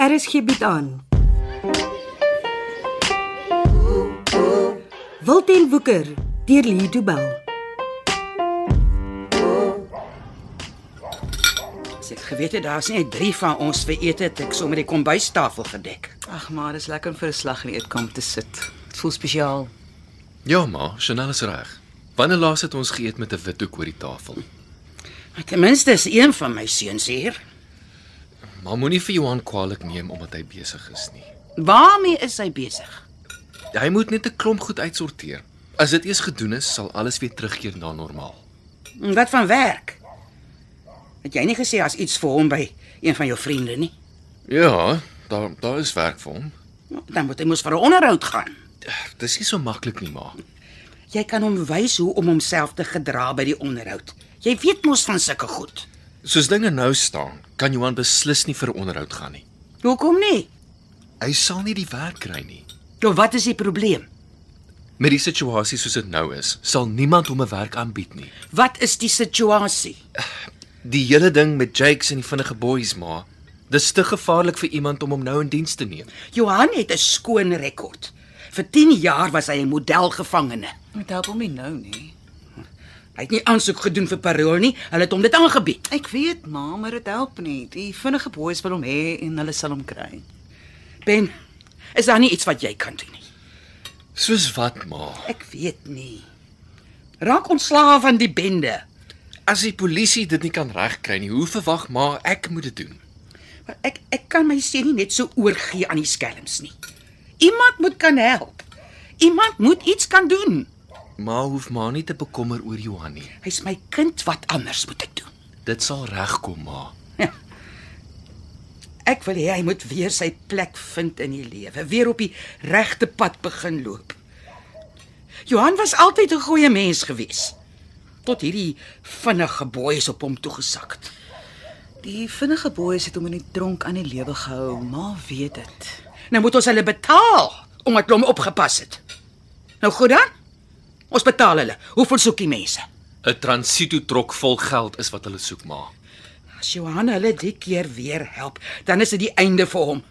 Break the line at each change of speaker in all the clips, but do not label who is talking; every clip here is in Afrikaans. RSG bied Er aan. Wilten Woeker deur Lee Du Bell.
As ek geweet het daar's net 3 van ons vir ete, het ek sommer die kombuistafel gedek.
Ag maar, dis lekker om vir 'n slag in die eetkamer te sit. Dit voel spesiaal.
Ja, ma, Chanel is reg. Wanneer laas het ons geëet met 'n withoek oor die tafel?
Maar Ten minste is een van my seuns hier.
Ma moenie vir Johan kwaadlik neem omdat hy besig is nie.
Waarmee is hy besig?
Hy moet net 'n klomp goed uitsorteer. As dit eers gedoen is, sal alles weer terugkeer na normaal.
En wat van werk? Het jy nie gesê as iets vir hom by een van jou vriende nie?
Ja, daar daar is werk vir hom.
Nou, Dan moet hy mos vir 'n onderhoud gaan.
Dis nie so maklik nie, ma.
Jy kan hom wys hoe om homself te gedra by die onderhoud. Jy weet mos van sulke goed.
Soos dinge nou staan, kan Johan beslis nie vir onderhoud gaan nie.
Hoekom nie?
Hy sal nie die werk kry nie.
Nou wat is die probleem?
Met die situasie soos dit nou is, sal niemand hom 'n werk aanbied nie.
Wat is die situasie?
Die hele ding met Jakes en die vinnige boeis, ma, dis te gevaarlik vir iemand om hom nou in diens te neem.
Johan het 'n skoon rekord. Vir 10 jaar was hy 'n modelgevangene.
Moet help hom nie nou nie.
Hy het nie aansoek gedoen vir parol nie. Hulle het hom dit aangebied.
Ek weet, ma, maar dit help nie. Die vinnige boeis wil hom hê en hulle sal hom kry.
Ben, is daar nie iets wat jy kan doen nie?
Soos wat, ma?
Ek weet nie. Raak ontslae van die bende.
As die polisie dit nie kan regkry nie, hoe verwag ma ek moet dit doen?
Maar ek ek kan my seun nie net so oorgee aan die skelms nie. Iemand moet kan help. Iemand moet iets kan doen.
Ma hoef maar nie te bekommer oor Johan nie.
Hy's my kind, wat anders moet ek doen?
Dit sal regkom, ma.
Ek wil hê hy moet weer sy plek vind in die lewe, weer op die regte pad begin loop. Johan was altyd 'n goeie mens gewees. Tot hierdie vinnige boeis op hom toegesak het.
Die vinnige boeis het hom in die tronk aan die lewe gehou. Ma weet dit.
Nou moet ons hulle betaal omdat hulle hom opgepas het. Nou goed dan. Ons betaal hulle. Hoeveel soek die mense?
'n Transito trok vol geld is wat hulle soek, ma.
As Johan hulle die keer weer help, dan is dit die einde vir hom.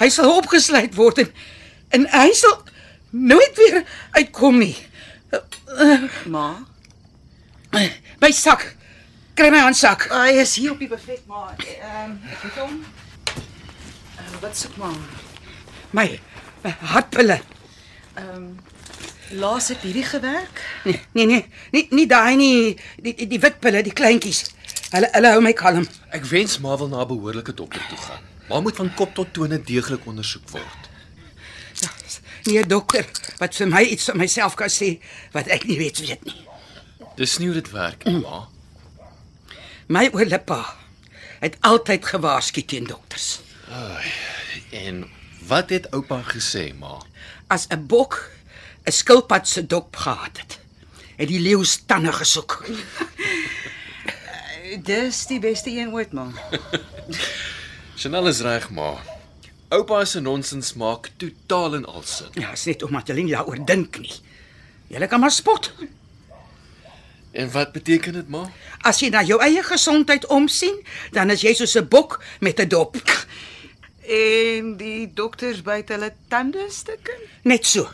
Hy sal opgesluit word en en hy sal nooit weer uitkom nie.
Ma,
My sak. Kry my handsak.
hy is hier op die buffet, ma. Ehm, um, ek het hom. Uh, wat soek ma?
My, my hartpille.
Ehm, um, laas het hierdie gewerk.
Nee, nee, nee, nie nie daai nie, die die, die wit pille, die kleintjies. Hulle hulle hou my kalm.
Ek wens ma wil na 'n behoorlike dokter toe gaan. Ma moet van kop tot tone deeglik ondersoek word.
Nee, dokter, wat vir my iets van myself kan sê wat ek nie weet weet nie.
Dis nie hoe dit werk nie, ma.
My oulippa het altyd gewaarsku teen dokters.
En wat het oupa gesê, ma?
As 'n bok 'n skilpad se dop gehad het, het die leeu se tande gesoek.
Dis die beste een ooit, ma.
Chanel is reg, ma. Oupa se nonsens maak totaal en al sin.
Ja, is net omdat hulle nie daaroor dink nie. Jy kan maar spot.
En wat beteken dit, ma?
As jy na jou eie gesondheid omsien, dan is jy soos 'n bok met 'n dop.
En die dokters byt hulle tande stukken?
Net so.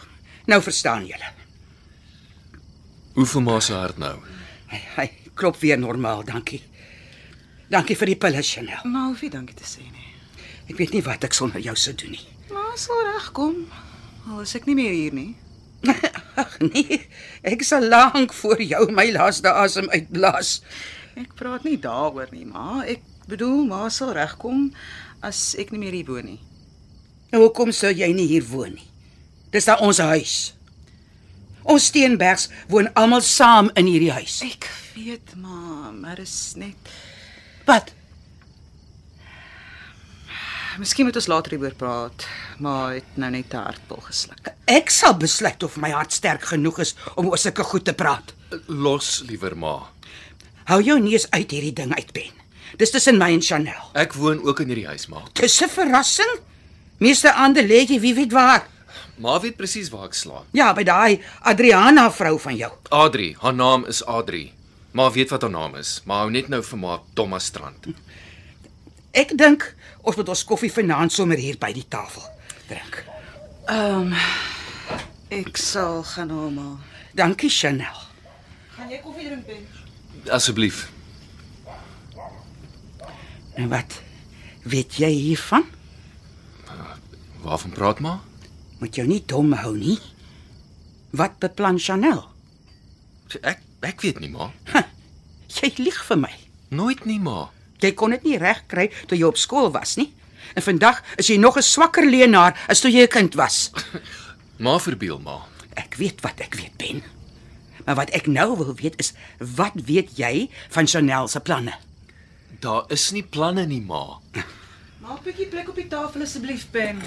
Nou verstaan julle.
Hoe voel ma se hart nou?
Hy, hy klop weer normaal, dankie. Dankie vir die pille, Chanel.
Maar hoef nie dankie te sê nie.
Ek weet nie wat ek sonder jou sou doen nie.
Maar sal regkom. Al is ek nie meer hier nie.
Ag nee, ek sal lank voor jou my laaste asem uitblaas.
Ek praat nie daaroor nie, ma. Ek bedoel, ma sal regkom as ek nie meer hier woon nie.
Nou hoekom sou jy nie hier woon nie? Dis daar ons huis. Ons Steenbergs woon almal saam in hierdie huis.
Ek weet, ma, maar is net
Wat?
Miskien moet ons later hieroor praat, maar het nou net 'n hartpil gesluk.
Ek sal besluit of my hart sterk genoeg is om oor sulke goed te praat.
Los liewer ma.
Hou jou neus uit hierdie ding uit, Ben. Dis tussen my en Chanel.
Ek woon ook in hierdie huis, ma.
Dis 'n verrassing. Meeste aande lê jy wie weet waar.
Ma weet presies waar ek slaap.
Ja, by daai Adriana vrou van jou.
Adri, haar naam is Adri. Ma weet wat haar naam is, maar hou net nou vir ma Thomas Strand.
Ek dink ons moet ons koffie vanaand sommer hier by die tafel drink.
Ehm um, ek sal gaan hom haal.
Dankie Chanel.
Gaan jy koffie drink, Ben?
Asseblief.
Nou wat? Weet jy hiervan?
Waarvan praat maar?
Moet jou nie dom hou nie. Wat beplan Chanel?
Ek ek weet nie maar.
Ha, jy lieg vir my.
Nooit nie maar.
Jy kon dit nie regkry toe jy op skool was nie. En vandag is jy nog 'n swakker leenaar as toe jy 'n kind was.
Maar verbeel maar.
Ek weet wat ek weet, Ben. Maar wat ek nou wil weet is, wat weet jy van Chanel se planne?
Daar is nie planne nie maar.
Maak 'n bietjie plek op die tafel asseblief, Ben.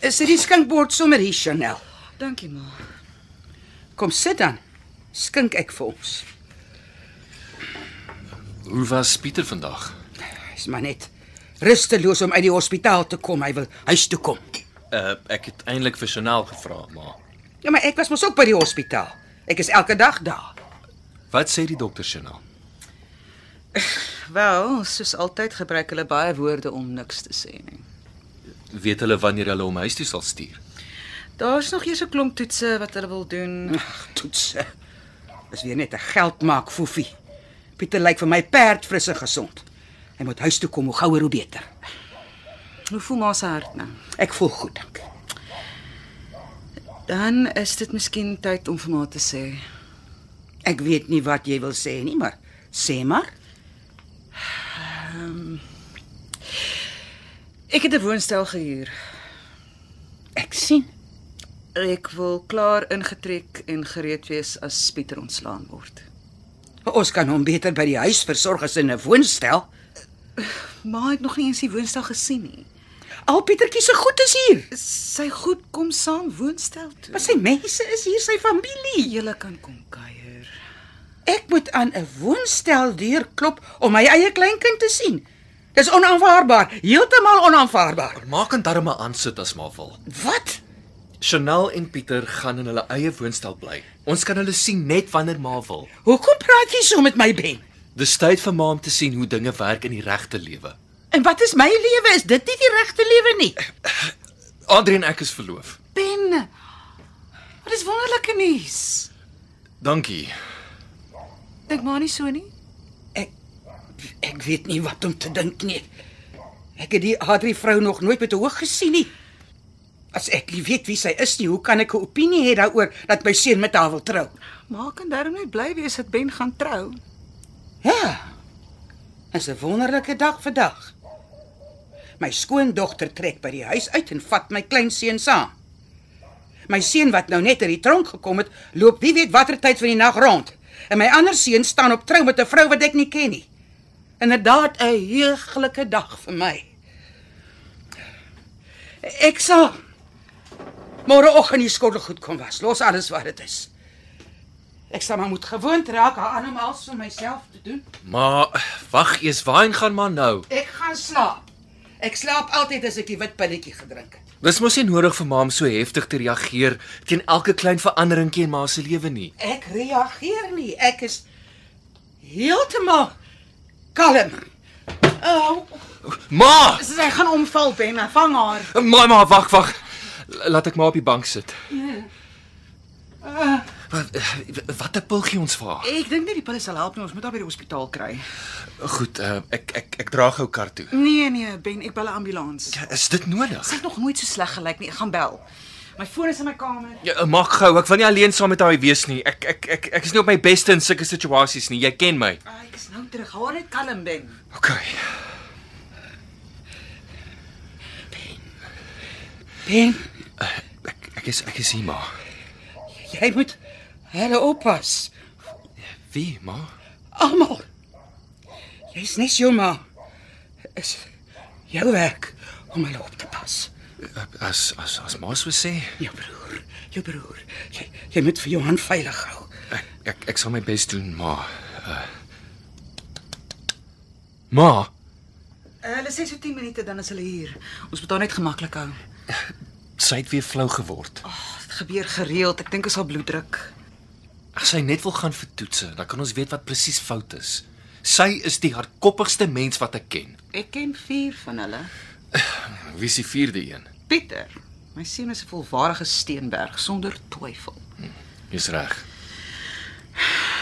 Is dit die skinkbord sommer hier, Chanel?
Dankie, ma.
Kom sit dan. Skink ek vir ons.
Hoe was Pieter vandag?
Hy's maar net rusteloos om uit die hospitaal te kom. Hy wil huis toe kom.
Uh ek het eintlik vir Chanel gevra maar.
Ja, maar ek was mos ook by die hospitaal. Ek is elke dag daar.
Wat sê die dokter Chanel?
Wel, soos altyd gebruik hulle baie woorde om niks te sê nie.
Weet hulle wanneer hulle hom huis toe sal stuur?
Daar's nog eers 'n klomp toetse wat hulle wil doen.
Ag, toetse. Dis weer net 'n geldmaak foefie. Pieter lyk vir my perd fris en gesond. Hy moet huis toe kom, hoe gouer hoe beter.
Hoe voel ma se hart nou?
Ek voel goed, dankie.
Dan is dit miskien tyd om vir ma te sê.
Ek weet nie wat jy wil sê nie, maar sê maar.
Ek het 'n woonstel gehuur.
Ek sien.
Ek wil klaar ingetrek en gereed wees as Pieter ontslaan word.
Ons kan hom beter by die huis versorg as in 'n woonstel.
Maar ek het nog nie eens die woonstel gesien nie.
Al Pietertjie se goed is hier.
Sy goed kom saam woonstel toe.
Maar sy mense is hier, sy familie.
Julle kan kom kuier.
Ek moet aan 'n woonstel deur klop om my eie kleinkind te sien. Dis onaanvaarbaar, heeltemal onaanvaarbaar.
Er Maak en darme aan sit as maar wil.
Wat?
Chanel en Pieter gaan in hulle eie woonstel bly. Ons kan hulle sien net wanneer ma wil.
Hoekom praat jy so met my Ben?
Dis tyd vir ma om te sien hoe dinge werk in die regte lewe.
En wat is my lewe? Is dit nie die regte lewe nie?
Adrien en ek is verloof.
Ben. Wat is wonderlike nuus.
Dankie.
Dink maar nie so nie.
Ek weet nie wat om te dink nie. Ek het die Adri vrou nog nooit met 'n oog gesien nie. As ek nie weet wie sy is nie, hoe kan ek 'n opinie hê daaroor dat my seun met haar wil trou?
Maak en daarom net bly wees dat Ben gaan trou.
Ja. Dis 'n wonderlike dag vandag. My skoondogter trek by die huis uit en vat my kleinseun saam. My seun wat nou net uit die tronk gekom het, loop wie weet watter tyd van die nag rond. En my ander seun staan op trou met 'n vrou wat ek nie ken nie. Inderdaad 'n heuglike dag vir my. Ek sal môreoggend die skottelgoed kom was. Los alles wat dit is. Ek sal maar moet gewoond raak aan om alles vir myself te doen.
Maar wag eers, waarheen gaan ma nou?
Ek gaan slaap. Ek slaap altyd as ek die wit pilletjie gedrink het.
Dis mos nie nodig vir ma om so heftig te reageer teen elke klein veranderingkie in ma se lewe nie.
Ek reageer nie. Ek is heeltemal kalm. Au, oh,
Ma,
Sy gaan omval, Ben. Vang haar.
ma, ma, wag, wag. L- Laat ek maar op die bank sit. Ja. Wat eh, wat 'n pil gee ons vir haar?
Ek dink nie die pille sal help nie. Ons moet haar by die hospitaal kry.
Goed, uh, ek ek ek dra gou kar toe.
Nee, nee, Ben, ek bel 'n ambulans.
Ja, is dit nodig?
Sy het nog nooit so sleg gelyk nie. Ek gaan bel. My foon is in my kamer.
Ja, maak gou. Ek wil nie alleen saam met haar wees nie. Ek ek ek ek is nie op my beste in sulke situasies nie. Jy ken my.
Ai, ek is nou terug. Hou haar net kalm, Ben.
Okay.
Ben,
Eh, Ek ek is ek is hier maar.
jy moet hulle oppas.
Wie, ma?
Almal. Jy's net jou ma. Is jou werk om hulle op te pas.
As as as ma sou sê,
Jou broer, jou broer. Jy, jy moet vir Johan veilig hou.
ek ek ek sal my bes doen, ma. Uh, ma,
Uh, hulle sê so 10 minute dan is hulle hier. Ons moet haar net gemaklik hou.
sy het weer flou geword.
Oh, dit gebeur gereeld. Ek dink is haar bloeddruk.
As sy net wil gaan vir toetse, dan kan ons weet wat presies fout is. Sy is die hardkoppigste mens wat ek ken.
Ek ken vier van hulle.
Wie is die vierde een?
Pieter, my seun is 'n volwaardige Steenberg sonder twyfel.
Jy's reg.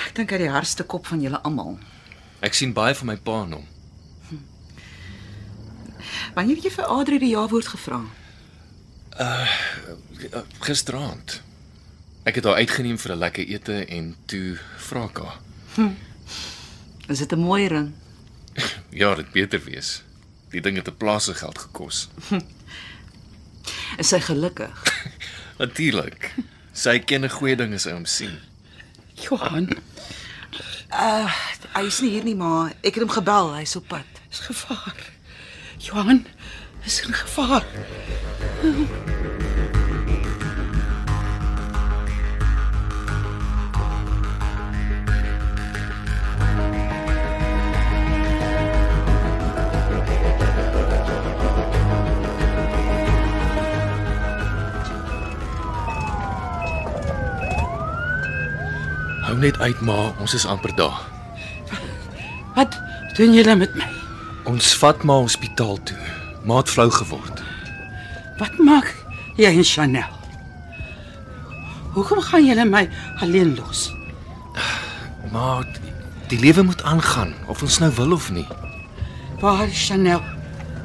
Ek dink hy het die hardste kop van julle almal.
Ek sien baie van my pa in hom.
Wanneer het jy vir Adri die ja-woord gevra?
Uh, Gisteraand. Ek het haar uitgeneem vir 'n lekker ete en toe vra ek haar.
Is dit 'n mooi ring?
Ja, dit beter wees. Die ding het 'n plase geld gekos.
Is sy gelukkig?
Natuurlik. Sy ken 'n goeie ding as hy hom sien.
Johan,
Ah, Hy is nie hier nie, maar ek het hom gebel, hy's op pad.
is gevaar. Johan, is in gevaar.
Hou net uit, ma, ons is amper daar.
Wat doen julle met my?
Ons vat ma hospitaal toe. Ma het flou geword.
Wat maak jy en Chanel? Hoekom gaan julle my alleen los?
Ma, die, die lewe moet aangaan, of ons nou wil of nie.
Waar is Chanel?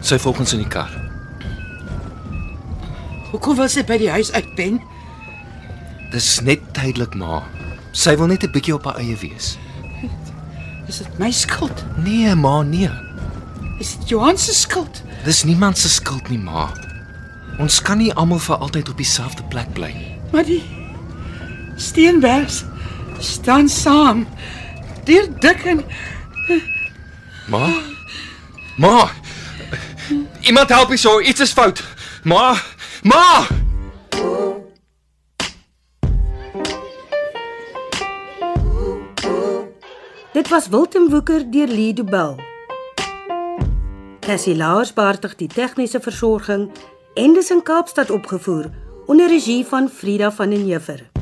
Sy volg ons in die kar.
Hoekom was sy by die huis uit Ben?
Dis net tydelik, ma. Sy wil net 'n bietjie op haar eie wees.
Is dit my skuld?
Nee, ma, nee.
Is dit Johan se skuld?
Dis niemand se skuld nie, ma. Ons kan nie almal vir altyd op dieselfde plek bly nie.
Maar die Steenbergs staan saam. Deur dik en
Ma? Ma! Iemand help hier so, iets is fout. Ma! Ma!
Dit was Wilten Woeker deur Lee Du Bell. Cassie Lars beheerdig die tegniese versorging en dis in Kaapstad opgevoer onder regie van Frida van den Heever.